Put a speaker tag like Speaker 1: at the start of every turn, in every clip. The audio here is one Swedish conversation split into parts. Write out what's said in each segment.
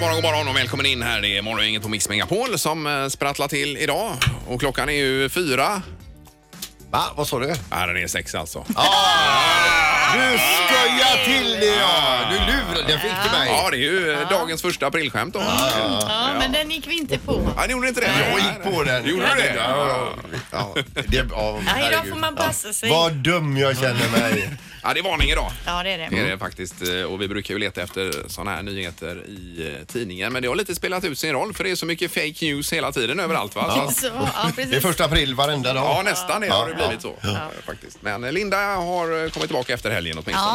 Speaker 1: morgon, god morgon och välkommen in här. Det är Morgongänget på Mix Megapol som eh, sprattlar till idag. Och klockan är ju fyra.
Speaker 2: Va? Vad sa du? Ah!
Speaker 1: Ja, den är sex alltså.
Speaker 2: Du skojar till det ja! Du lurar, den fick Ah, du mig.
Speaker 1: Ja, det är ju eh, dagens första aprilskämt då.
Speaker 3: Ja, men den gick vi inte på.
Speaker 1: Ja, ni gjorde inte det?
Speaker 2: Jag gick på den.
Speaker 1: Gjorde du det?
Speaker 2: Ja, ja, det, ja,
Speaker 3: Ja, idag
Speaker 2: herregud.
Speaker 3: får man passa sig.
Speaker 2: Vad dum jag känner mig.
Speaker 1: Ja, det är varning idag.
Speaker 3: Ja, det är
Speaker 1: Det är
Speaker 3: det.
Speaker 1: det faktiskt eh, och vi brukar ju leta efter sådana här nyheter i eh, tidningen. Men det har lite spelat ut sin roll för det är så mycket fake news hela tiden överallt va? Så-
Speaker 3: Så, ja, Alltså, precis.
Speaker 2: Det är första april varenda dag.
Speaker 1: Ja, nästan det har det
Speaker 2: Ja.
Speaker 1: blivit så. eh, Faktiskt. Men eh, Linda har eh, kommit tillbaka efter helgen åtminstone.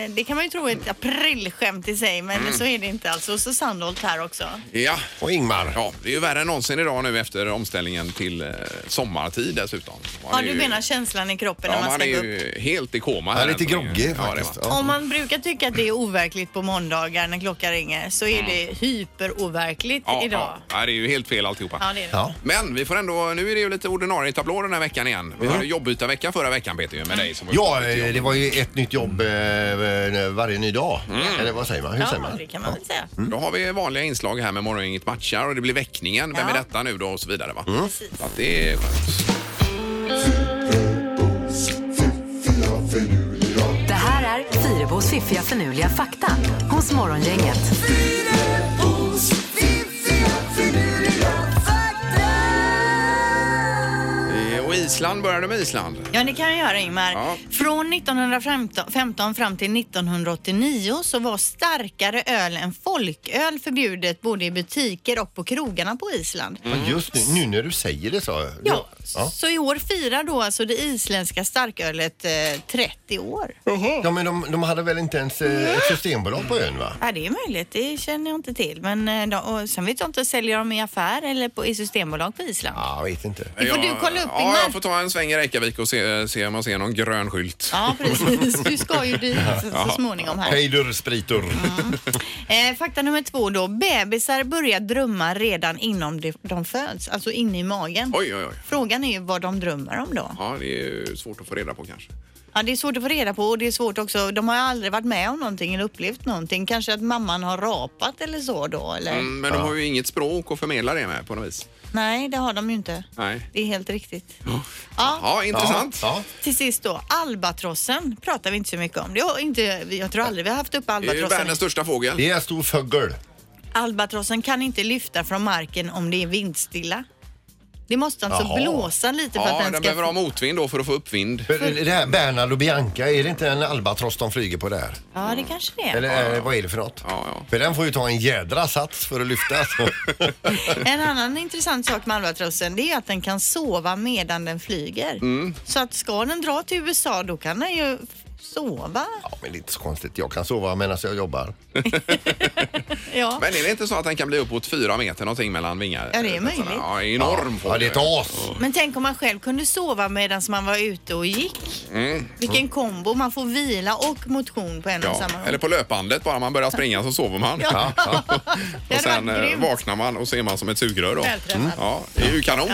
Speaker 3: Ja, eh, det kan man ju tro är ett aprilskämt i sig, men så är det inte alls. Och så Sandholt här också.
Speaker 1: Mm. Ja.
Speaker 2: Och Ingmar.
Speaker 1: Ja, det är ju värre än någonsin idag nu efter omställningen till eh, sommartid dessutom.
Speaker 3: Ja, du menar känslan i kroppen när
Speaker 1: ja,
Speaker 3: man
Speaker 1: man
Speaker 3: ska
Speaker 1: är
Speaker 3: gå upp?
Speaker 1: ju helt i koma.
Speaker 2: Jag
Speaker 1: här
Speaker 2: är lite
Speaker 1: än så länge.
Speaker 2: groggig
Speaker 1: Ja, det är
Speaker 2: faktiskt.
Speaker 1: man.
Speaker 2: Ja.
Speaker 3: Om man brukar tycka att det är overkligt på måndagar när klockan ringer så är det hyperoverkligt
Speaker 1: Mm. Ja,
Speaker 3: idag.
Speaker 1: ja. ja, det är ju helt fel alltihopa.
Speaker 3: Ja, det är det.
Speaker 2: Ja.
Speaker 1: Men vi får ändå, nu är det ju lite ordinarie tablå den här veckan igen. Vi hade jobbbytarvecka förra veckan Peter
Speaker 3: Mm.
Speaker 1: ju med dig som var
Speaker 2: Ja,
Speaker 1: ute på
Speaker 2: eh,
Speaker 1: jobb.
Speaker 2: det var ju ett nytt jobb eh, varje ny dag. Eller vad säger man? Hur säger
Speaker 3: Ja,
Speaker 2: man? Mm.
Speaker 3: det kan man väl säga.
Speaker 1: Mm. Då har vi vanliga inslag här med Morgongänget matchar och det blir väckningen. Vem
Speaker 3: Ja.
Speaker 1: är detta nu då? Och så vidare va?
Speaker 2: Mm.
Speaker 3: Precis.
Speaker 1: Så att det är skönt.
Speaker 4: Det här är Fyrabos fiffiga förnuliga fakta hos Morgongänget.
Speaker 1: Eh, Och Island började med Island.
Speaker 3: Ja, det kan jag göra Ingmar.
Speaker 1: Ja.
Speaker 3: Från 1915 fram till 1989 så var starkare öl än folköl förbjudet både i butiker och på krogarna på Island.
Speaker 1: Mm.
Speaker 2: Ja, Just nu, nu när du säger det så.
Speaker 3: Ja,
Speaker 2: Mm. ja.
Speaker 3: så i år firar då alltså det isländska starkölet eh, 30 år.
Speaker 2: ja men de, de hade väl inte ens eh, ett systembolag på ön va?
Speaker 3: Ja, det är möjligt. Det känner jag inte till. Men eh, de, och sen vet jag inte, säljer de i affär eller på, i systembolag på Island?
Speaker 2: Ja, jag vet inte.
Speaker 3: Det får du kolla upp
Speaker 1: Ja,
Speaker 3: Ingmar.
Speaker 1: jag får ta en sväng i Reykjavik och se, se om jag ser någon grön skylt.
Speaker 3: Ja, precis. Du ska ju dit så, så småningom här.
Speaker 2: Hejdurr spritor.
Speaker 3: Eh, fakta nummer två då. Bebisar börjar drömma redan innan de, de föds, alltså inne i magen.
Speaker 1: Oj, oj, oj.
Speaker 3: Frågan är ju vad de drömmer om då.
Speaker 1: Ja, det är ju svårt att få reda på kanske.
Speaker 3: Ja, det är svårt att få reda på och det är svårt också. De har aldrig varit med om någonting eller upplevt någonting. Kanske att mamman har rapat eller så då eller?
Speaker 1: Mm, men de har ju inget språk att förmedla det med på något vis.
Speaker 3: Nej, det har de ju inte.
Speaker 1: Nej.
Speaker 3: Det är helt riktigt. Ja,
Speaker 1: Ja, intressant.
Speaker 2: Ja,
Speaker 3: till sist då. Albatrossen pratar vi inte så mycket om. Det har inte, jag tror aldrig vi har haft upp
Speaker 1: Det är ju
Speaker 3: albatrossen.
Speaker 1: världens största fågel.
Speaker 2: det är en stor fågel.
Speaker 3: Albatrossen kan inte lyfta från marken om det är vindstilla. Det måste alltså
Speaker 2: Jaha.
Speaker 3: blåsa lite för
Speaker 1: Ja,
Speaker 3: att
Speaker 1: den
Speaker 3: den ska...
Speaker 1: behöver ha motvind då för att få uppvind.
Speaker 2: Men Det här Bernhard och Bianca, är det inte en albatross de flyger på där?
Speaker 3: Ja, det kanske det är.
Speaker 2: Eller eh, vad är det för något?
Speaker 1: Ja, ja.
Speaker 2: För den får ju ta en jädra sats för att lyftas.
Speaker 3: En annan intressant sak med albatrossen det är att den kan sova medan den flyger.
Speaker 2: Mm.
Speaker 1: Mm.
Speaker 3: Så att ska den dra till USA då kan den ju f- sova.
Speaker 2: ja, men det är inte så konstigt. Jag kan sova medan jag jobbar.
Speaker 3: Ja.
Speaker 1: Men är det inte så att den kan bli uppåt fyra meter någonting mellan vingar?
Speaker 3: Ja, det är möjligt.
Speaker 1: Ja, enorm
Speaker 2: Ja, det är
Speaker 1: fågel.
Speaker 2: ett as.
Speaker 3: Men tänk om man själv kunde sova medan man var ute och gick.
Speaker 1: Mm.
Speaker 3: Vilken kombo. Man får vila och motion på en och
Speaker 1: Ja,
Speaker 3: samma gång.
Speaker 1: eller på löpbandet bara man börjar springa så sover man.
Speaker 3: Ja.
Speaker 1: Och
Speaker 3: Det hade
Speaker 1: sen
Speaker 3: varit
Speaker 1: eh,
Speaker 3: grymt.
Speaker 1: vaknar man och ser man som ett sugrör då.
Speaker 3: Välträffad. Mm.
Speaker 1: Ja, det är ju kanon.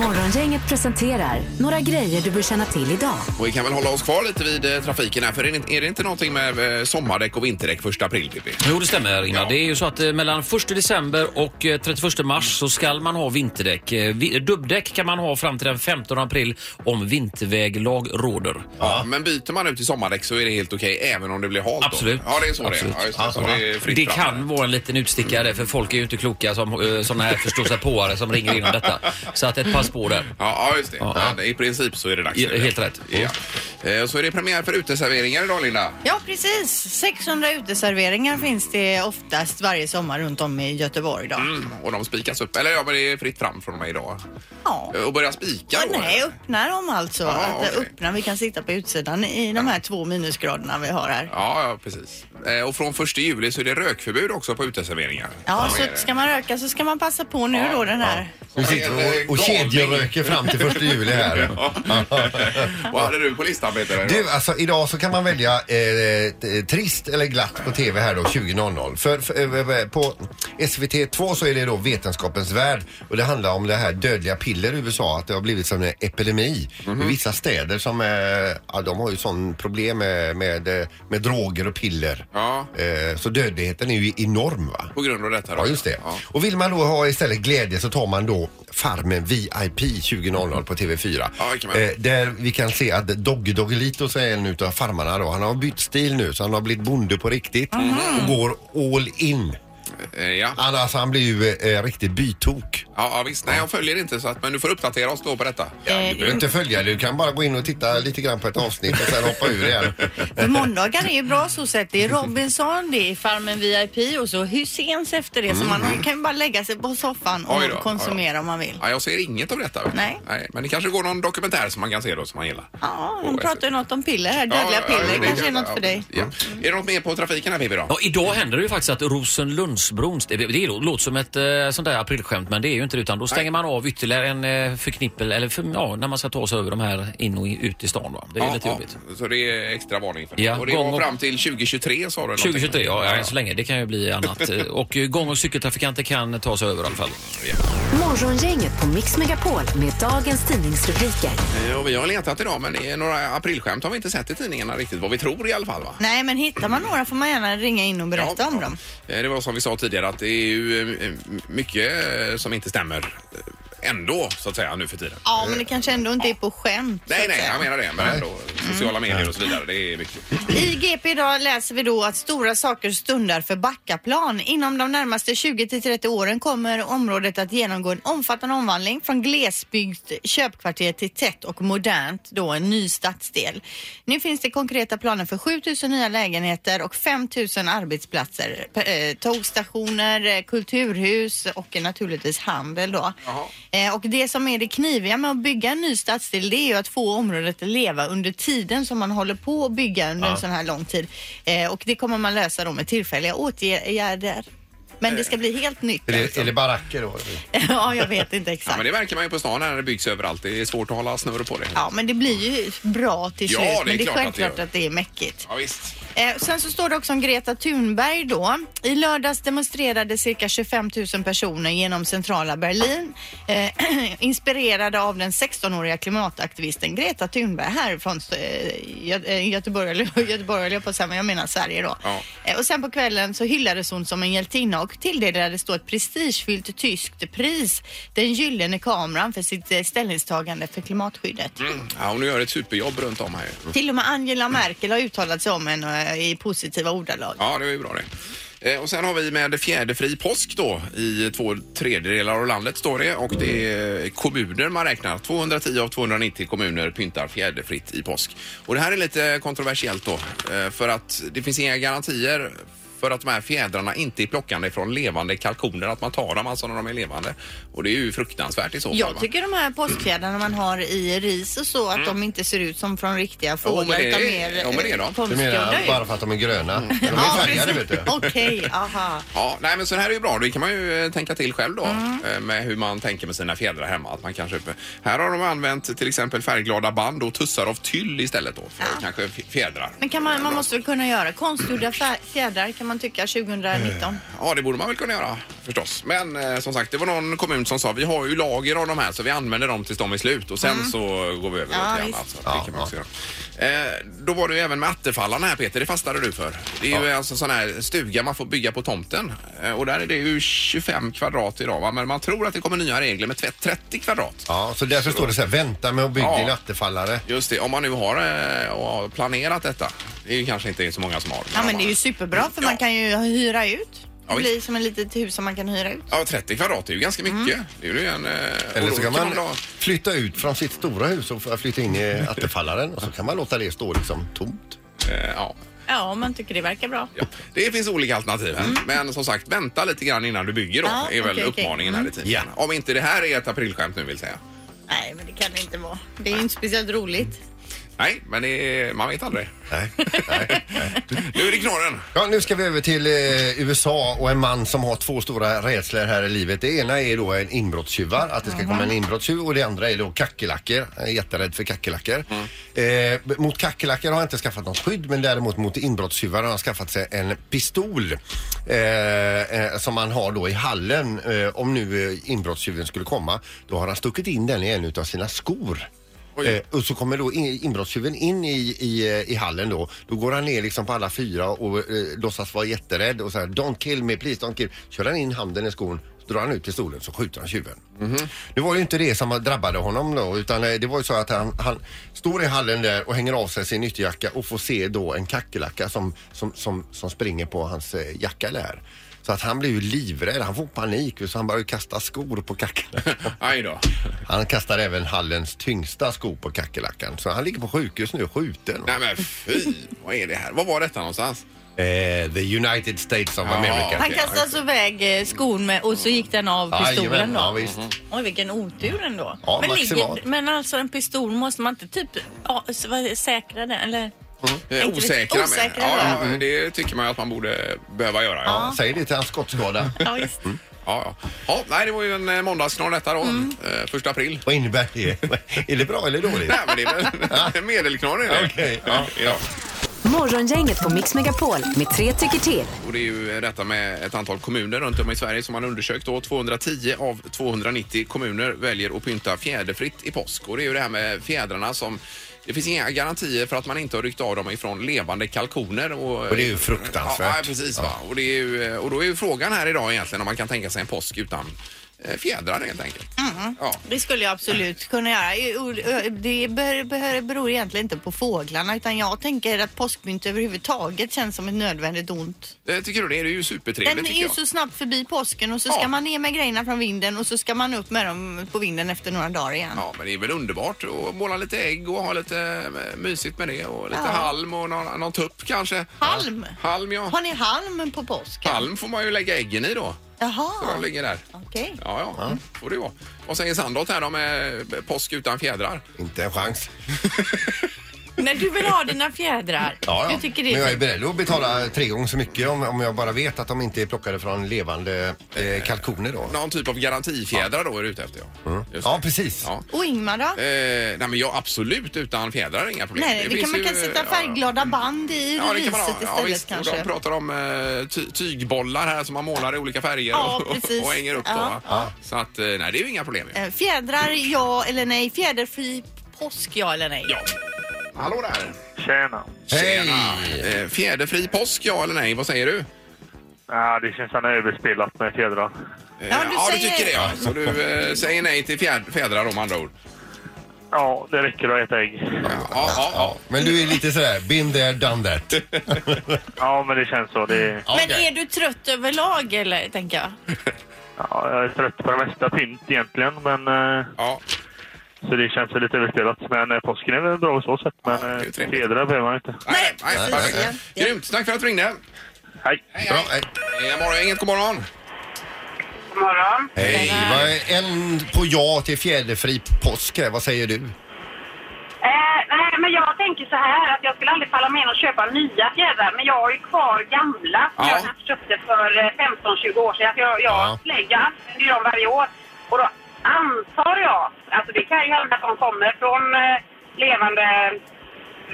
Speaker 4: Morgongänget presenterar några grejer du bör känna till idag.
Speaker 1: Och vi kan väl hålla oss kvar lite vid eh, trafiken här för är det, inte- är det inte någonting med eh, sommardäck och vinterdäck första april, Pippi?
Speaker 5: Jo, det stämmer Ingmar.
Speaker 1: Ja.
Speaker 5: Det är ju så att eh, mellan 1 december och eh, 31 mars så ska man ha vinterdäck. Eh, vi- Dubbdäck kan man ha fram till den 15 april om vinterväglag råder.
Speaker 1: Ja, men byter man ut till sommardäck så är det helt okej även om det blir halt då.
Speaker 5: Absolut.
Speaker 1: Ja, det är så
Speaker 5: Absolut.
Speaker 1: det är. Ja, just det. Så det är fritt
Speaker 5: Det
Speaker 1: fram.
Speaker 5: kan vara en liten utstickare för folk är ju inte kloka som eh, såna här förståsigpåare som ringer in om detta. Så att ett pass på där.
Speaker 1: Ja, ja, just det. Ja. I princip så är det dags
Speaker 5: Ja,
Speaker 1: nu.
Speaker 5: helt rätt.
Speaker 1: Ja. Eh, Så är det premiär för uteserveringar idag, Linda.
Speaker 3: Ja, precis. 600 uteserveringar finns det oftast varje sommar runt om i Göteborg. Då.
Speaker 2: Mm.
Speaker 1: Och de spikas upp. Eller ja, men det är fritt fram från och med idag.
Speaker 3: Ja.
Speaker 1: Eh, Och börja spika
Speaker 3: Ja,
Speaker 1: då?
Speaker 3: nej, öppnar de alltså.
Speaker 1: Jaha,
Speaker 3: att
Speaker 1: okej.
Speaker 3: öppna, vi kan sitta på utsidan i de här två minusgraderna vi har här.
Speaker 1: Ja, ja, precis. Eh, Och från 1 juli så är det rökförbud också på uteserveringar.
Speaker 3: Ja,
Speaker 1: är det.
Speaker 3: så ska man röka så ska man passa på nu då den här.
Speaker 2: Du sitter och, och
Speaker 1: Eh,
Speaker 2: kedjeröker fram till första juli här.
Speaker 1: Vad hade du på listan, Peter?
Speaker 2: Du, alltså idag så kan man välja eh, t- trist eller glatt på TV här då 20.00. För, för, eh, på SVT2 så är det då Vetenskapens Värld och det handlar om det här dödliga piller i USA, att det har blivit som en epidemi. I vissa städer som, eh, ja de har ju sån problem med, med, eh, med droger och piller.
Speaker 1: Ja,
Speaker 2: Eh, Så dödligheten är ju enorm va?
Speaker 1: på grund av detta. då.
Speaker 2: Ja, just det.
Speaker 1: Ja.
Speaker 2: Och vill man då ha istället glädje så tar man då Farmen VIP 20.00 på TV4.
Speaker 1: Ja, det kan man.
Speaker 2: Eh, där vi kan se att Dogge Doggelito så är en utav farmarna då. Han har bytt stil nu så han har blivit bonde på riktigt och går all in.
Speaker 1: Mhm. Eh, Ja.
Speaker 2: Han, alltså, han blir ju eh, riktigt bytok.
Speaker 1: Ja, ja, visst. Nej, jag följer inte så att, men du får uppdatera oss då på detta.
Speaker 2: Ja, du behöver inte följa det. Du kan bara gå in och titta lite grann på ett avsnitt och sen hoppa ur igen.
Speaker 3: För måndagar är ju bra så sett. Det är Robinson, det är Farmen VIP och så Hyséns efter det. Så man kan ju bara lägga sig på soffan och
Speaker 1: Oj då,
Speaker 3: konsumera om man vill.
Speaker 1: Ja, jag ser inget av detta. vet du.
Speaker 3: Nej.
Speaker 1: Men det kanske går någon dokumentär som man kan se då som man gillar.
Speaker 3: Ja,
Speaker 1: Och
Speaker 3: de pratar ju något om piller här. Dödliga piller
Speaker 1: det-
Speaker 3: kanske är något för dig.
Speaker 1: Ja. Är det något mer på trafiken här Pippi då?
Speaker 5: Ja, idag händer det ju faktiskt att Rosenlundsbron, det, det låter som ett eh, sånt där aprilskämt men det är ju inte det utan då stänger man av ytterligare en eh, förknippel eller för, ja, när man ska ta sig över de här in och ut i stan va. Det är
Speaker 1: Ja,
Speaker 5: lite
Speaker 1: ja.
Speaker 5: jobbigt.
Speaker 1: Så det är extra varning för det.
Speaker 5: Ja,
Speaker 1: och det var
Speaker 5: gång och-
Speaker 1: fram till 2023 sa du? någonting.
Speaker 5: 2023, ja, ja, än så länge. Det kan ju bli annat. Eh, Och eh, gång och cykeltrafikanter kan ta sig över i alla fall.
Speaker 4: Morgongänget på Mix Megapol med dagens tidningsrubriker.
Speaker 1: Eh, Och vi har letat idag men det är några aprilskämt har vi inte sett i tidningarna riktigt. Vad vi tror i alla fall va?
Speaker 3: Nej, men hittar man några får man gärna ringa in och berätta om dem.
Speaker 1: Eh, Det var som vi sa tidigare att det är ju eh, mycket eh, som inte stämmer eh, ändå så att säga nu för tiden. Eh,
Speaker 3: Ja, men det kanske ändå inte är på skämt. så
Speaker 1: Nej,
Speaker 3: att
Speaker 1: nej,
Speaker 3: säga.
Speaker 1: jag menar det. Men ändå, sociala medier och så vidare, det är mycket.
Speaker 3: I GP idag läser vi då att stora saker stundar för Backaplan. Inom de närmaste 20 till 30 åren kommer området att genomgå en omfattande omvandling från glesbygd köpkvarter till tätt och modernt, då en ny stadsdel. Nu finns det konkreta planer för 7000 nya lägenheter och 5000 arbetsplatser, p- eh, tågstationer, eh, kulturhus och eh, naturligtvis handel då. Eh, Och det som är det kniviga med att bygga en ny stadsdel det är ju att få området att leva under tiden som man håller på att bygga under en sån här lång tid. Eh, Och det kommer man lösa då med tillfälliga åtgärder. Men det ska bli helt nytt.
Speaker 2: Är det,
Speaker 3: alltså.
Speaker 2: är det baracker då?
Speaker 3: ja, jag vet inte
Speaker 1: Ja,
Speaker 3: exakt.
Speaker 1: men det märker man ju på stan här när det byggs överallt. Det är svårt att hålla snurr på det.
Speaker 3: Ja, men det blir ju bra till
Speaker 1: Ja,
Speaker 3: slut.
Speaker 1: det är
Speaker 3: men det är
Speaker 1: klart att det
Speaker 3: självklart
Speaker 1: gör.
Speaker 3: att det är mäckigt.
Speaker 1: Ja, visst.
Speaker 3: Eh, sen så står det också om Greta Thunberg då. I lördags demonstrerade cirka 25 000 personer genom centrala Berlin eh, inspirerade av den 16-åriga klimataktivisten Greta Thunberg här från eh, Gö- eh, Göteborg, eller Göteborg höll jag på att säga, men jag menar Sverige då.
Speaker 1: Ja.
Speaker 3: Eh, och sen på kvällen så hyllades hon som en hjältinna och tilldelades då ett prestigefyllt tyskt pris, den gyllene kameran, för sitt eh, ställningstagande för klimatskyddet.
Speaker 1: Mm. Ja, och nu gör ett superjobb runt om här ju.
Speaker 3: Till och med Angela Merkel har uttalat sig om henne eh, i positiva ordalag.
Speaker 1: Ja, det är ju bra det. Eh, Och sen har vi med fjäderfri påsk då i två tredjedelar av landet står det och det är kommuner man räknar. 210 av 290 kommuner pyntar fjäderfritt i påsk. Och det här är lite kontroversiellt då eh, för att det finns inga garantier för att de här fjädrarna inte är plockande från levande kalkoner, att man tar dem alltså när de är levande. Och det är ju fruktansvärt i så fall.
Speaker 3: Jag
Speaker 1: va?
Speaker 3: tycker de här påskfjädrarna man har i ris och så, att de inte ser ut som från riktiga fåglar
Speaker 1: Mm. det-
Speaker 3: utan mer
Speaker 1: jo, men det är de.
Speaker 3: eh,
Speaker 2: Du menar
Speaker 3: konstgjorda
Speaker 2: bara
Speaker 3: ut.
Speaker 2: för att de är gröna? Men De
Speaker 3: Ja,
Speaker 2: är färgade vet
Speaker 3: precis.
Speaker 2: du.
Speaker 3: Okej, aha.
Speaker 1: Ja, nej men så här är ju bra. Det kan man ju eh, tänka till själv då
Speaker 3: Mm.
Speaker 1: eh, med hur man tänker med sina fjädrar hemma. Att man kanske, här har de använt till exempel färgglada band och tussar av tyll istället då för kanske f- fjädrar.
Speaker 3: Men kan man, man måste väl kunna göra konstgjorda fä- fjädrar kan man tycka 2019.
Speaker 1: Ja, det borde man väl kunna göra förstås. Men eh, som sagt, det var någon kommun som sa vi har ju lager av de här så vi använder dem tills de är slut och sen så går vi över
Speaker 3: Mm. Ja,
Speaker 1: till
Speaker 3: visst.
Speaker 1: annat. Så att det kan man också göra. Eh, då var det ju även med attefallarna här Peter, det fastnade du för. Det är ju alltså en sån här stuga man får bygga på tomten eh, och där är det ju 25 kvadrat idag va? men man tror att det kommer nya regler med tvätt 30 kvadrat.
Speaker 2: Ja, så därför står det så här, vänta med att bygga
Speaker 1: Ja.
Speaker 2: din attefallare.
Speaker 1: Just det, om man nu har eh, och har planerat detta. Det är ju kanske inte så många som har. men
Speaker 3: Ja
Speaker 1: om
Speaker 3: men
Speaker 1: man-
Speaker 3: det är ju superbra för
Speaker 1: Ja.
Speaker 3: man kan ju hyra ut.
Speaker 1: Ja,
Speaker 3: Det
Speaker 1: visst.
Speaker 3: blir som ett litet hus som man kan hyra ut.
Speaker 1: Ja, 30 kvadrat är ju ganska mycket.
Speaker 3: Mm.
Speaker 1: Det är ju en... eh, och
Speaker 2: Eller
Speaker 1: då
Speaker 2: så kan man
Speaker 1: då-
Speaker 2: flytta ut från sitt stora hus och f- flytta in i attefallaren och så kan man låta det stå liksom tomt.
Speaker 1: eh, ja.
Speaker 3: Ja, om man tycker det verkar bra.
Speaker 1: Ja, det finns olika alternativ här. Men som sagt, vänta lite grann innan du bygger då.
Speaker 3: Mm. Ja,
Speaker 1: är väl
Speaker 3: okej, okej. Mm.
Speaker 1: uppmaningen här i tidningen. Om inte det här är ett aprilskämt nu vill säga.
Speaker 3: Nej, men det kan det inte vara. Det är ju inte speciellt roligt.
Speaker 1: Nej, men det är, man vet aldrig.
Speaker 2: Nej, nej, nej.
Speaker 1: Nu är det knorren.
Speaker 2: Ja, nu ska vi över till eh, USA och en man som har två stora rädslor här i livet. Det ena är då en inbrottstjuvar, att det ska komma en inbrottstjuv och det andra är då kackerlackor. Jag är jätterädd för kackerlackor. Eh, mot kackerlackor har han inte skaffat något skydd men däremot mot inbrottstjuvar har han skaffat sig en pistol eh, eh, som han har då i hallen. Eh, om nu eh, inbrottstjuven skulle komma då har han stuckit in den i en av sina skor.
Speaker 1: Oj.
Speaker 2: Eh, och så kommer då in- inbrottstjuven in i, i, eh, i hallen då. Då går han ner liksom på alla fyra och eh, låtsas vara jätterädd och så här don't kill me please, don't kill. Kör han in handen i skon så drar han ut pistolen så skjuter han tjuven. Nu var det ju inte det som drabbade honom då utan eh, det var ju så att han, han står i hallen där och hänger av sig sin ytterjacka och får se då en kackerlacka som, som, som, som springer på hans eh, jacka där. Så att han blir ju livrädd, han får panik så han börjar kasta skor på kackerlackan.
Speaker 1: Aj då.
Speaker 2: Han kastar även hallens tyngsta sko på kackerlackan. Så han ligger på sjukhus nu, skjuten.
Speaker 1: Nej men fy, vad är det här? Vad var detta någonstans?
Speaker 2: Eh, the United States of
Speaker 1: Ja.
Speaker 2: America.
Speaker 3: Han kastade alltså iväg eh, skon med och så gick den av pistolen
Speaker 2: Jajamän, ja,
Speaker 3: då.
Speaker 2: visst.
Speaker 1: Mhm.
Speaker 3: Oj vilken otur ändå.
Speaker 2: Ja,
Speaker 3: men,
Speaker 2: maximalt.
Speaker 3: men alltså en pistol måste man inte typ ja, s- vad- säkra den eller?
Speaker 2: Mm.
Speaker 1: Eh,
Speaker 3: Inte vet-
Speaker 1: Osäkra med.
Speaker 3: osäkra,
Speaker 1: ja,
Speaker 3: ja.
Speaker 1: ja, det tycker man ju att man borde behöva göra. Ja. Mm.
Speaker 2: Säg det till hans skottskada.
Speaker 3: Ja, visst.
Speaker 1: Ja, ja. ja, nej det var ju en eh, måndagsknorr detta då.
Speaker 3: Mm.
Speaker 1: Eh, Första april.
Speaker 2: Vad innebär det? är det bra eller dåligt?
Speaker 1: Nej men det är väl en medelknorr är det.
Speaker 2: Okej,
Speaker 1: ja.
Speaker 2: ja.
Speaker 1: Ja.
Speaker 4: Morgongänget på Mix Megapol med tre tycker till.
Speaker 1: Och det är ju detta med ett antal kommuner runt om i Sverige som man undersökt då. 210 av 290 kommuner väljer att pynta fjäderfritt i påsk. Och det är ju det här med fjädrarna som det finns inga garantier för att man inte har ryckt av dem ifrån levande kalkoner. Och,
Speaker 2: Och det är ju fruktansvärt.
Speaker 1: Ja, ja, precis. Va? Och, det är ju, och då är ju frågan här idag egentligen om man kan tänka sig en påsk utan eh, fjädrar helt enkelt. Ja.
Speaker 3: Mm. Det skulle jag absolut kunna göra. Jo, o- Det ber- ber- beror egentligen inte på fåglarna utan jag tänker att påskmynt överhuvudtaget känns som ett nödvändigt ont.
Speaker 1: Eh, Tycker du det? Det är ju supertrevligt
Speaker 3: Den är
Speaker 1: tycker
Speaker 3: ju
Speaker 1: jag.
Speaker 3: så snabbt förbi påsken och så
Speaker 1: Ja.
Speaker 3: ska man ner med grejerna från vinden och så ska man upp med dem på vinden efter några dagar igen.
Speaker 1: Ja, men det är väl underbart att måla lite ägg och ha lite eh, mysigt med det och lite
Speaker 3: Ja.
Speaker 1: halm och någon, någon tupp kanske.
Speaker 3: Halm?
Speaker 1: Halm, ja.
Speaker 3: Har ni halm på påsken?
Speaker 1: Halm får man ju lägga äggen i då. Så
Speaker 3: Jaha,
Speaker 1: de ligger där.
Speaker 3: okej.
Speaker 1: Ja, ja, får det vara. Vad säger Sandholt här då med eh, påsk utan fjädrar?
Speaker 2: Inte en chans.
Speaker 3: När du vill ha dina fjädrar.
Speaker 2: Ja, ja.
Speaker 3: Du tycker det
Speaker 2: Men
Speaker 3: är...
Speaker 2: jag är beredd att betala tre gånger så mycket om, om jag bara vet att de inte är plockade från levande eh, kalkoner då.
Speaker 1: Någon typ av garantifjädrar då är du ute efter ja. Just
Speaker 2: Mm. Ja,
Speaker 1: det.
Speaker 2: precis.
Speaker 1: Ja.
Speaker 3: Och Ingmar då?
Speaker 1: Eh, nej men jag absolut utan fjädrar inga problem.
Speaker 3: Nej, det
Speaker 1: finns
Speaker 3: kan man
Speaker 1: ju,
Speaker 3: kan
Speaker 1: ja,
Speaker 3: sätta
Speaker 1: ja.
Speaker 3: färgglada band i
Speaker 1: Ja, det kan
Speaker 3: riset
Speaker 1: man ha.
Speaker 3: istället
Speaker 1: Ja, visst. Och
Speaker 3: kanske.
Speaker 1: De pratar om eh, ty tygbollar här som man målar i olika färger
Speaker 3: Ja,
Speaker 1: och,
Speaker 3: precis.
Speaker 1: och hänger upp
Speaker 3: Ja,
Speaker 1: då. va? Så att, eh, nej det är ju inga problem. ju.
Speaker 3: Eh, Fjädrar ja eller nej? Fjäderfri påsk ja eller nej?
Speaker 1: Ja. Hallå där!
Speaker 6: Tjena.
Speaker 2: Hej!
Speaker 1: Eh, Fjäderfri påsk, ja eller nej? Vad säger du? Eh,
Speaker 6: Ja, det känns som överspelat med fjädrar.
Speaker 1: Eh, Ja,
Speaker 3: du
Speaker 1: du
Speaker 3: säger-
Speaker 1: tycker det ja. Så du eh, säger nej till fjär- fjädrar om andra ord?
Speaker 6: Ja, det räcker att äta ägg.
Speaker 1: Ja, ja, ja.
Speaker 2: Men du är lite sådär, been there, done that.
Speaker 6: Ja, men det känns så.
Speaker 1: Mm.
Speaker 6: Det,
Speaker 3: Men är du trött överlag eller tänker jag?
Speaker 6: ja, jag är trött på det mesta pynt egentligen, men, eh,
Speaker 1: ja.
Speaker 6: så det känns väl lite överspelat. Men eh, påsken är väl bra på så sätt, men
Speaker 1: Ja, det är ju
Speaker 6: eh,
Speaker 1: trevligt.
Speaker 6: fjädrar behöver man inte.
Speaker 1: Nej, nej,
Speaker 2: Nej,
Speaker 1: perfekt.
Speaker 2: nej,
Speaker 3: nej.
Speaker 1: Grymt, tack för att du ringde.
Speaker 6: Hej!
Speaker 2: Bra, hej.
Speaker 1: Eh, Morgongänget, god morgon.
Speaker 7: God morgon.
Speaker 2: Hej! Vad är En på ja till fjäderfri påsk här. Vad säger du?
Speaker 7: Eh, nej, men jag tänker så här att jag skulle aldrig falla med in och köpa nya fjädrar, men jag har ju kvar gamla som
Speaker 1: Ja.
Speaker 7: jag kanske köpte för eh, 15-20 år sedan. Att jag jag
Speaker 2: Ja.
Speaker 7: lägger använder ju dem varje år. Och då antar jag, alltså det kan ju hända att de kommer från eh, levande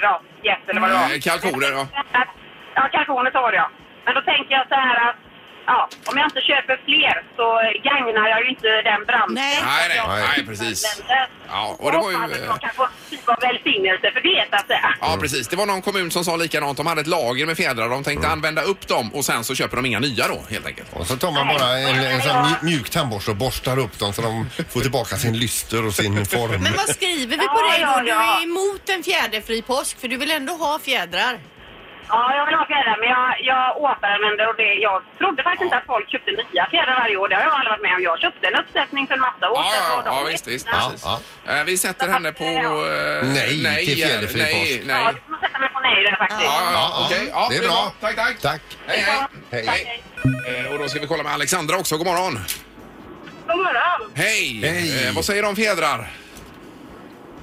Speaker 7: ja, gäss eller vad det var.
Speaker 1: Eh, kalkoner, ja.
Speaker 7: Att- Ja, kalkoner tar jag. Men då tänker jag så här att ja, om jag inte köper fler så gagnar jag ju inte den branschen.
Speaker 3: Nej.
Speaker 1: Nej, nej, nej, precis. Ja, och det var ju... eh,
Speaker 7: Jag kan få typ av välsignelse för det, så att säga.
Speaker 1: Ja, precis. Det var någon kommun som sa likadant. De hade ett lager med fjädrar. De tänkte
Speaker 6: Mm.
Speaker 1: använda upp dem och sen så köper de inga nya då, helt enkelt.
Speaker 2: Och så tar man bara en, en sån mjuk, mjuk tandborste och borstar upp dem så de får tillbaka sin lyster och sin form.
Speaker 3: Men vad skriver vi på
Speaker 7: Ja,
Speaker 3: dig
Speaker 7: ja,
Speaker 3: då? Du
Speaker 7: ja.
Speaker 3: är emot en fjäderfri påsk för du vill ändå ha fjädrar.
Speaker 7: Ja, jag vill ha fjädrar, men jag, jag återanvänder och det, jag trodde faktiskt inte att folk köpte nya fjädrar varje år. Det har jag aldrig varit med om. Jag köpte en uppsättning för en massa år
Speaker 1: Ja,
Speaker 7: sedan,
Speaker 1: ja,
Speaker 7: och de
Speaker 1: ja
Speaker 7: är
Speaker 1: visst, visst.
Speaker 7: fina.
Speaker 2: Ja,
Speaker 1: precis.
Speaker 2: ja.
Speaker 1: Eh, Vi sätter henne på... eh,
Speaker 2: Nej, till fjäderfri
Speaker 1: nej,
Speaker 2: påsk.
Speaker 7: Ja,
Speaker 1: nej.
Speaker 7: du får sätta mig på nej där faktiskt.
Speaker 1: Ja, ja,
Speaker 2: Ja,
Speaker 1: okej.
Speaker 2: ja, det är
Speaker 1: det
Speaker 2: bra.
Speaker 1: Tack, tack.
Speaker 2: Tack.
Speaker 1: Hej, hej.
Speaker 2: Hej.
Speaker 7: Tack, hej.
Speaker 1: Eh, Och då ska vi kolla med Alexandra också. God morgon.
Speaker 7: God morgon!
Speaker 1: Hej!
Speaker 2: Hej.
Speaker 1: Eh, vad säger du om fjädrar?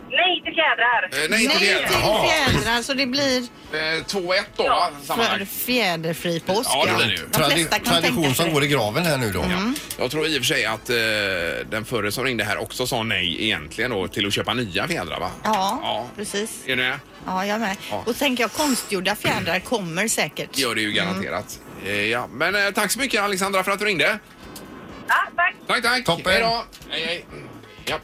Speaker 7: Nej till fjädrar!
Speaker 1: Eh, nej,
Speaker 3: Nej
Speaker 1: till
Speaker 3: till
Speaker 1: fjädrar.
Speaker 3: fjädrar så det blir
Speaker 1: Eh, 2-1 då, va?
Speaker 3: för
Speaker 1: sammanlagt.
Speaker 3: fjäderfri påsk.
Speaker 1: Ja, det blir det ju.
Speaker 3: De flesta
Speaker 2: Tradi-
Speaker 3: kan tänka
Speaker 2: tradition
Speaker 3: sig
Speaker 2: som
Speaker 3: det. Mm.
Speaker 2: går i graven här nu då.
Speaker 1: Jag tror i och för sig att eh, den förre som ringde här också sa nej egentligen då, till att köpa nya fjädrar, va?
Speaker 3: Ja, precis.
Speaker 1: Är det?
Speaker 3: Ja, jag med.
Speaker 1: Ja.
Speaker 3: Och tänker jag konstgjorda fjädrar kommer säkert.
Speaker 1: gör det ju garanterat. Eh, ja. Men eh, tack så mycket Alexandra för att du ringde.
Speaker 7: Ja, tack!
Speaker 1: Tack, tack.
Speaker 2: Toppen.
Speaker 1: Hej då. Hej, hej. Mm, Ja.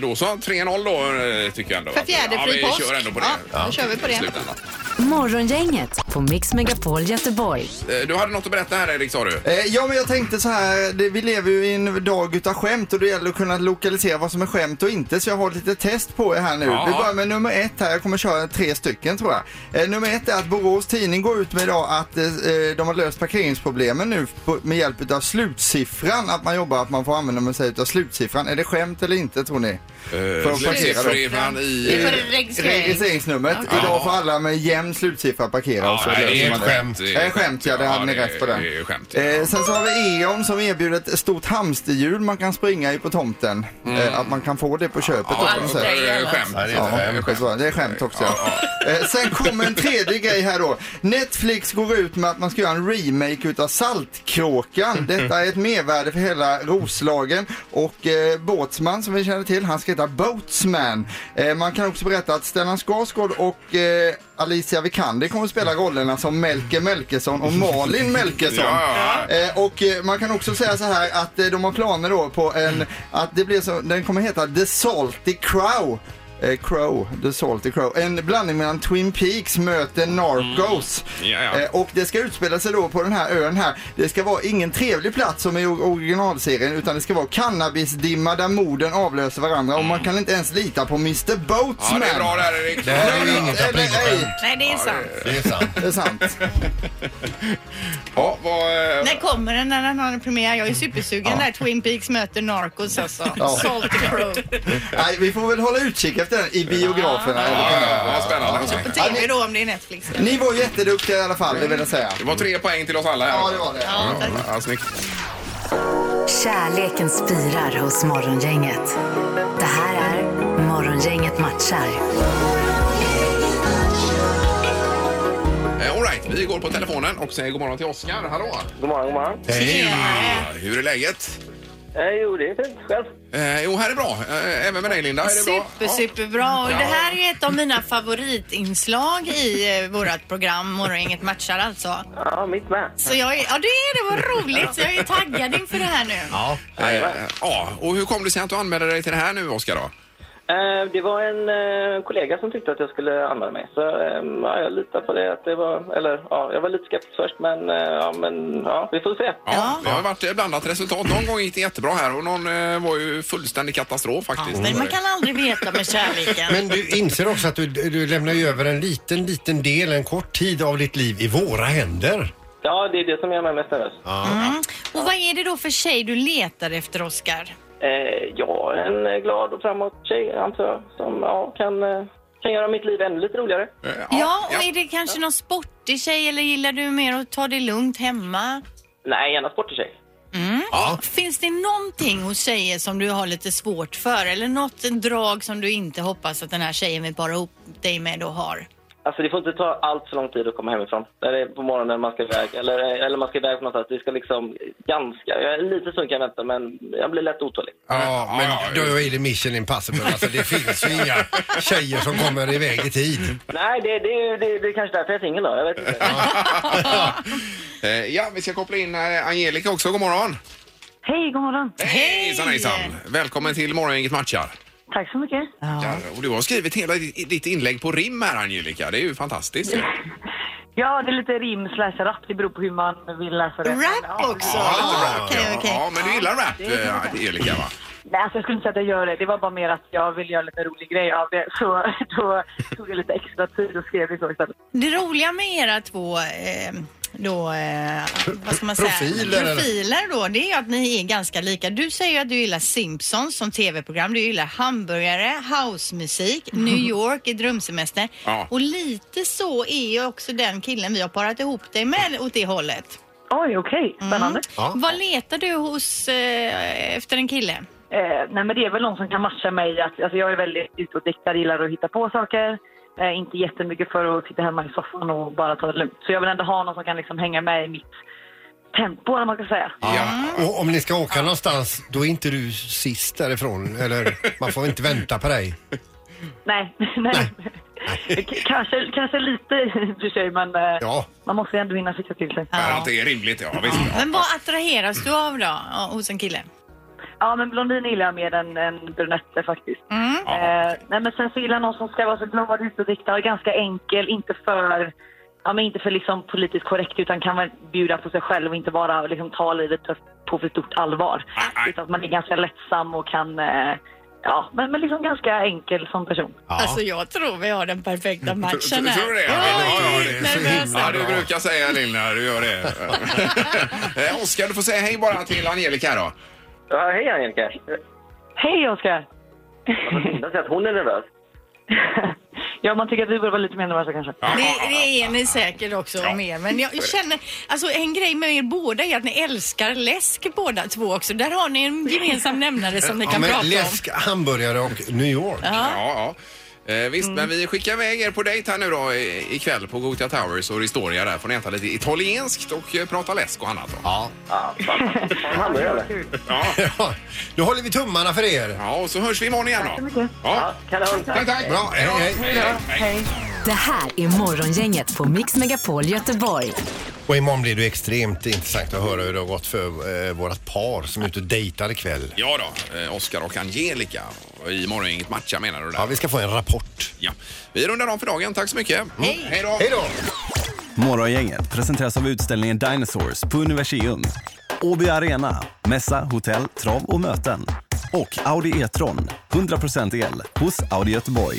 Speaker 1: Då så, 3-0 då eh, tycker jag ändå.
Speaker 3: För fjäderfri
Speaker 1: ja,
Speaker 3: påsk.
Speaker 1: vi kör ändå på det.
Speaker 3: Ja, då kör vi på
Speaker 1: I
Speaker 3: det.
Speaker 1: slutändan.
Speaker 4: Morgongänget på Mix Megapol Göteborg.
Speaker 1: Eh, Du hade något att berätta här Erik sa du.
Speaker 8: Eh, Ja, men jag tänkte så här. Det, vi lever ju i en dag utav skämt och det gäller att kunna lokalisera vad som är skämt och inte. Så jag har lite test på er här nu.
Speaker 1: Ja.
Speaker 8: Vi börjar med nummer ett här. Jag kommer köra tre stycken tror jag. Eh, nummer ett är att Borås Tidning går ut med idag att eh, eh, de har löst parkeringsproblemen nu på, med hjälp utav slutsiffran. Att man jobbar, att man får använda sig utav slutsiffran. Är det skämt eller inte tror ni? För att parkera då.
Speaker 1: Slutsiffran
Speaker 3: Det är
Speaker 1: Eh, i... eh,
Speaker 3: för registrering.
Speaker 8: Registreringsnumret. Idag får alla med jämn slutsiffra parkera. och så
Speaker 1: nej,
Speaker 8: löser
Speaker 1: det är
Speaker 8: man
Speaker 1: skämt.
Speaker 8: Det är skämt, ja. Det hade ni
Speaker 1: det är-
Speaker 8: rätt på den.
Speaker 1: det är skämt.
Speaker 8: Eh, sen så har vi E.ON som erbjuder ett stort hamsterhjul man kan springa i på tomten. Eh, att man kan få det på köpet
Speaker 1: Mm. Ja,
Speaker 8: också.
Speaker 1: det är skämt.
Speaker 2: Nej, det är
Speaker 8: Ja,
Speaker 2: inte skämt.
Speaker 8: det är skämt. det är skämt också. Eh, Sen kommer en tredje grej här då. Netflix går ut med att man ska göra en remake utav Saltkråkan. Detta är ett mervärde för hela Roslagen och eh, Båtsman som vi känner till, han ska heta Boatsman. Eh, man kan också berätta att Stellan Skarsgård och eh, Alicia Vikander kommer att spela rollerna som Melker Melkersson och Malin Melkersson.
Speaker 1: Ja,
Speaker 8: Eh, och eh, man kan också säga så här att eh, de har planer då på en, att det blir så, den kommer heta The Salty Crow. Eh, Crow, The Salty Crow. En blandning mellan Twin Peaks möter Narcos.
Speaker 1: Ja, Mm, ja.
Speaker 8: Eh, och det ska utspela sig då på den här ön här. Det ska vara ingen trevlig plats som i o- originalserien utan det ska vara cannabisdimma där morden avlöser varandra och man kan inte ens lita på Mr
Speaker 1: Mm. Ja,
Speaker 8: Boatsman.
Speaker 1: det är bra där Erik.
Speaker 2: Det här är ju
Speaker 8: Eller
Speaker 2: inget aprilskämt.
Speaker 8: ej,
Speaker 3: Mm. Nej, det är sant.
Speaker 2: Det är sant.
Speaker 8: det är sant.
Speaker 1: Ja, vad... eh,
Speaker 3: När kommer den när den har en premiär? Jag är supersugen när Twin Peaks möter Narcos alltså.
Speaker 8: Ja.
Speaker 3: Salt Crow.
Speaker 8: Nej, vi får väl hålla utkik efter den i biograferna. eller
Speaker 1: Ja,
Speaker 8: på nätet.
Speaker 1: ja, ja, spännande.
Speaker 3: På TV då om det är Netflix.
Speaker 8: Ni var jätteduktiga i alla fall, det vill jag säga.
Speaker 1: Det var tre poäng till oss alla här.
Speaker 8: Ja, det var det.
Speaker 1: Ja, ja, snyggt.
Speaker 4: Kärleken spirar hos Morgongänget. Det här är Morgongänget matchar.
Speaker 1: Eh, All right, vi går på telefonen och säger god morgon till Oskar. Hallå!
Speaker 6: God morgon, god morgon.
Speaker 1: Ja, Hur är läget?
Speaker 6: Eh, jo, det är fint. Själv?
Speaker 1: Eh, jo, här är bra. Eh, även med dig Linda. Är det bra?
Speaker 3: Super, superbra. Och det här är ett av mina favoritinslag i eh, vårt program Morgongänget matchar alltså.
Speaker 6: Ja, mitt med.
Speaker 3: Så jag är, ja det är det, vad roligt. Så jag är taggad inför det här nu.
Speaker 2: Ja.
Speaker 1: Ja. Eh, ja, och hur kom det sig att du anmälde dig till det här nu Oskar då?
Speaker 6: Eh, det var en eh, kollega som tyckte att jag skulle anmäla mig. Så eh, ja, jag litar på det. Att det var, eller, ja, jag var lite skeptisk först, men, eh, ja, men ja, vi får se.
Speaker 1: Ja, Det har varit eh, blandat resultat. Någon gång gick det jättebra här och någon eh, var ju fullständig katastrof faktiskt.
Speaker 3: Men man kan aldrig veta med kärleken.
Speaker 2: Men du inser också att du, du lämnar ju över en liten, liten del, en kort tid av ditt liv i våra händer.
Speaker 6: Ja, det är det som gör mig mest nervös.
Speaker 3: Mm. Och vad är det då för tjej du letar efter Oskar?
Speaker 6: Eh, ja, en eh, glad och framåt tjej, antar jag, som ja, kan, eh, kan göra mitt liv ännu lite roligare.
Speaker 1: Eh,
Speaker 3: Ja, och är det kanske någon sportig tjej eller gillar du mer att ta det lugnt hemma?
Speaker 6: Nej, gärna sportig tjej.
Speaker 1: Ja.
Speaker 3: Finns det någonting hos tjejer som du har lite svårt för eller något drag som du inte hoppas att den här tjejen vill para ihop dig med då har?
Speaker 6: Alltså det får inte ta allt för lång tid att komma hemifrån. När det är på morgonen man ska iväg, eller, eh, eller man ska iväg på någonstans. Det ska liksom ganska, jag är lite sugen kan jag vänta men jag blir lätt otålig.
Speaker 2: Ja,
Speaker 1: ja,
Speaker 2: men
Speaker 1: just
Speaker 2: då är det mission impossible. Alltså, det finns ju inga tjejer som kommer iväg i tid.
Speaker 6: Nej, det, det, det, det är kanske därför jag är singel då, jag vet inte.
Speaker 1: Eh, ja, vi ska koppla in eh, Angelica också. God morgon!
Speaker 9: Hej, god morgon.
Speaker 1: Hej! Hejsan, hejsan! Välkommen till Morgongänget matchar.
Speaker 9: Tack så mycket.
Speaker 1: Ja, och du har skrivit hela di- ditt inlägg på rim här Angelica. Det är ju fantastiskt.
Speaker 9: Ja, det är lite rim slash rap. Det beror på hur man vill läsa det.
Speaker 3: Rap också?
Speaker 1: Ja,
Speaker 3: Ah, okej, okej.
Speaker 1: ja, men du gillar rap
Speaker 9: det är
Speaker 1: eh,
Speaker 9: det.
Speaker 1: Angelica va?
Speaker 9: Nej, alltså, jag skulle inte säga att jag gör det. Det var bara mer att jag vill göra lite rolig grej av det. Så då tog jag lite extra tid och skrev det så istället.
Speaker 3: Det roliga med era två eh, då, eh, vad ska man säga?
Speaker 2: Profiler, eller?
Speaker 3: Profiler då, det är ju att ni är ganska lika. Du säger ju att du gillar Simpsons som tv-program, du gillar hamburgare, housemusik,
Speaker 2: Mm.
Speaker 3: New York i drömsemester.
Speaker 1: Ja.
Speaker 3: Och lite så är ju också den killen vi har parat ihop dig med åt det hållet. Mm.
Speaker 9: Oj, okej. Spännande.
Speaker 2: Ja.
Speaker 3: Vad letar du hos, eh, efter en kille?
Speaker 9: Eh, nej, men det är väl någon som kan matcha mig. Att, alltså, jag är väldigt utåtriktad, gillar att hitta på saker. Eh, inte jättemycket för att sitta hemma i soffan och bara ta det lugnt. Så jag vill ändå ha någon som kan liksom hänga med i mitt tempo, eller vad man kan säga.
Speaker 1: Ja.
Speaker 2: Och om ni ska åka någonstans, då är inte du sist därifrån. Eller man får inte vänta på dig.
Speaker 9: Nej, nej. K- kanske, kanske lite i och för sig, men eh,
Speaker 2: Ja.
Speaker 9: man måste ju ändå hinna fixa till sig.
Speaker 1: Att det är rimligt, ja visst. Ja.
Speaker 3: Men vad attraheras du av då, ja, hos en kille?
Speaker 9: Ja, Ja, men blondin gillar jag mer än, än brunetter faktiskt.
Speaker 3: Mm.
Speaker 9: Eh, nej, men sen så gillar jag någon som ska vara så glad utåtriktad och ganska enkel, inte för Ja, men inte för liksom politiskt korrekt utan kan väl bjuda på sig själv och inte bara liksom ta livet för- på för stort allvar. Utan att man är ganska lättsam och kan, eh, ja, men, men liksom ganska enkel som person.
Speaker 3: Alltså jag tror vi har den perfekta
Speaker 1: Mm. Tror
Speaker 3: matchen här.
Speaker 1: tror du det? Ja, ja, det
Speaker 3: Nej, men alltså-
Speaker 1: Ja, du brukar säga Linda, du gör det. Eh, Oskar, du får säga hej bara till Angelica då.
Speaker 6: Ja, hej Angelica.
Speaker 9: Hej Oskar!
Speaker 6: Linda säger att hon är nervös.
Speaker 9: ja, man tycker att vi borde vara lite mer nervösa kanske.
Speaker 3: Det, det är ni säkert också mer. Men jag känner, alltså en grej med er båda är att ni älskar läsk båda två också. Där har ni en gemensam nämnare som ni
Speaker 2: Ja,
Speaker 3: kan prata
Speaker 2: men
Speaker 3: om.
Speaker 2: läsk, hamburgare och New York.
Speaker 1: Ja, ja. Eh, visst,
Speaker 3: Mm.
Speaker 1: men vi skickar iväg er på dejt här nu då i- ikväll på Gothia Towers och Ristoria där. Får ni äta lite italienskt och eh, prata läsk och annat då.
Speaker 2: Ja.
Speaker 6: Han eller?
Speaker 2: Ja. Då håller vi tummarna för er.
Speaker 1: Ja, och så hörs vi imorgon igen då. Ja,
Speaker 6: Kanon.
Speaker 1: tack, tack.
Speaker 2: Bra, hej, hej.
Speaker 4: Det här är Morgongänget på Mix Megapol Göteborg.
Speaker 2: Och imorgon blir det extremt intressant att höra hur det har gått för eh, vårat par som är ute och dejtar ikväll.
Speaker 1: Ja då, eh, Oskar och Angelica. Och Imorgon inget matcha menar du där?
Speaker 2: Ja, vi ska få en rapport.
Speaker 1: Ja. Vi rundar om för dagen. Tack så mycket. Hej då.
Speaker 2: Hej då!
Speaker 10: Morgongänget presenteras av utställningen Dinosaurs på Universium. Åby Arena, mässa, hotell, trav och möten. Och Audi E-tron, 100% el, hos Audi Göteborg.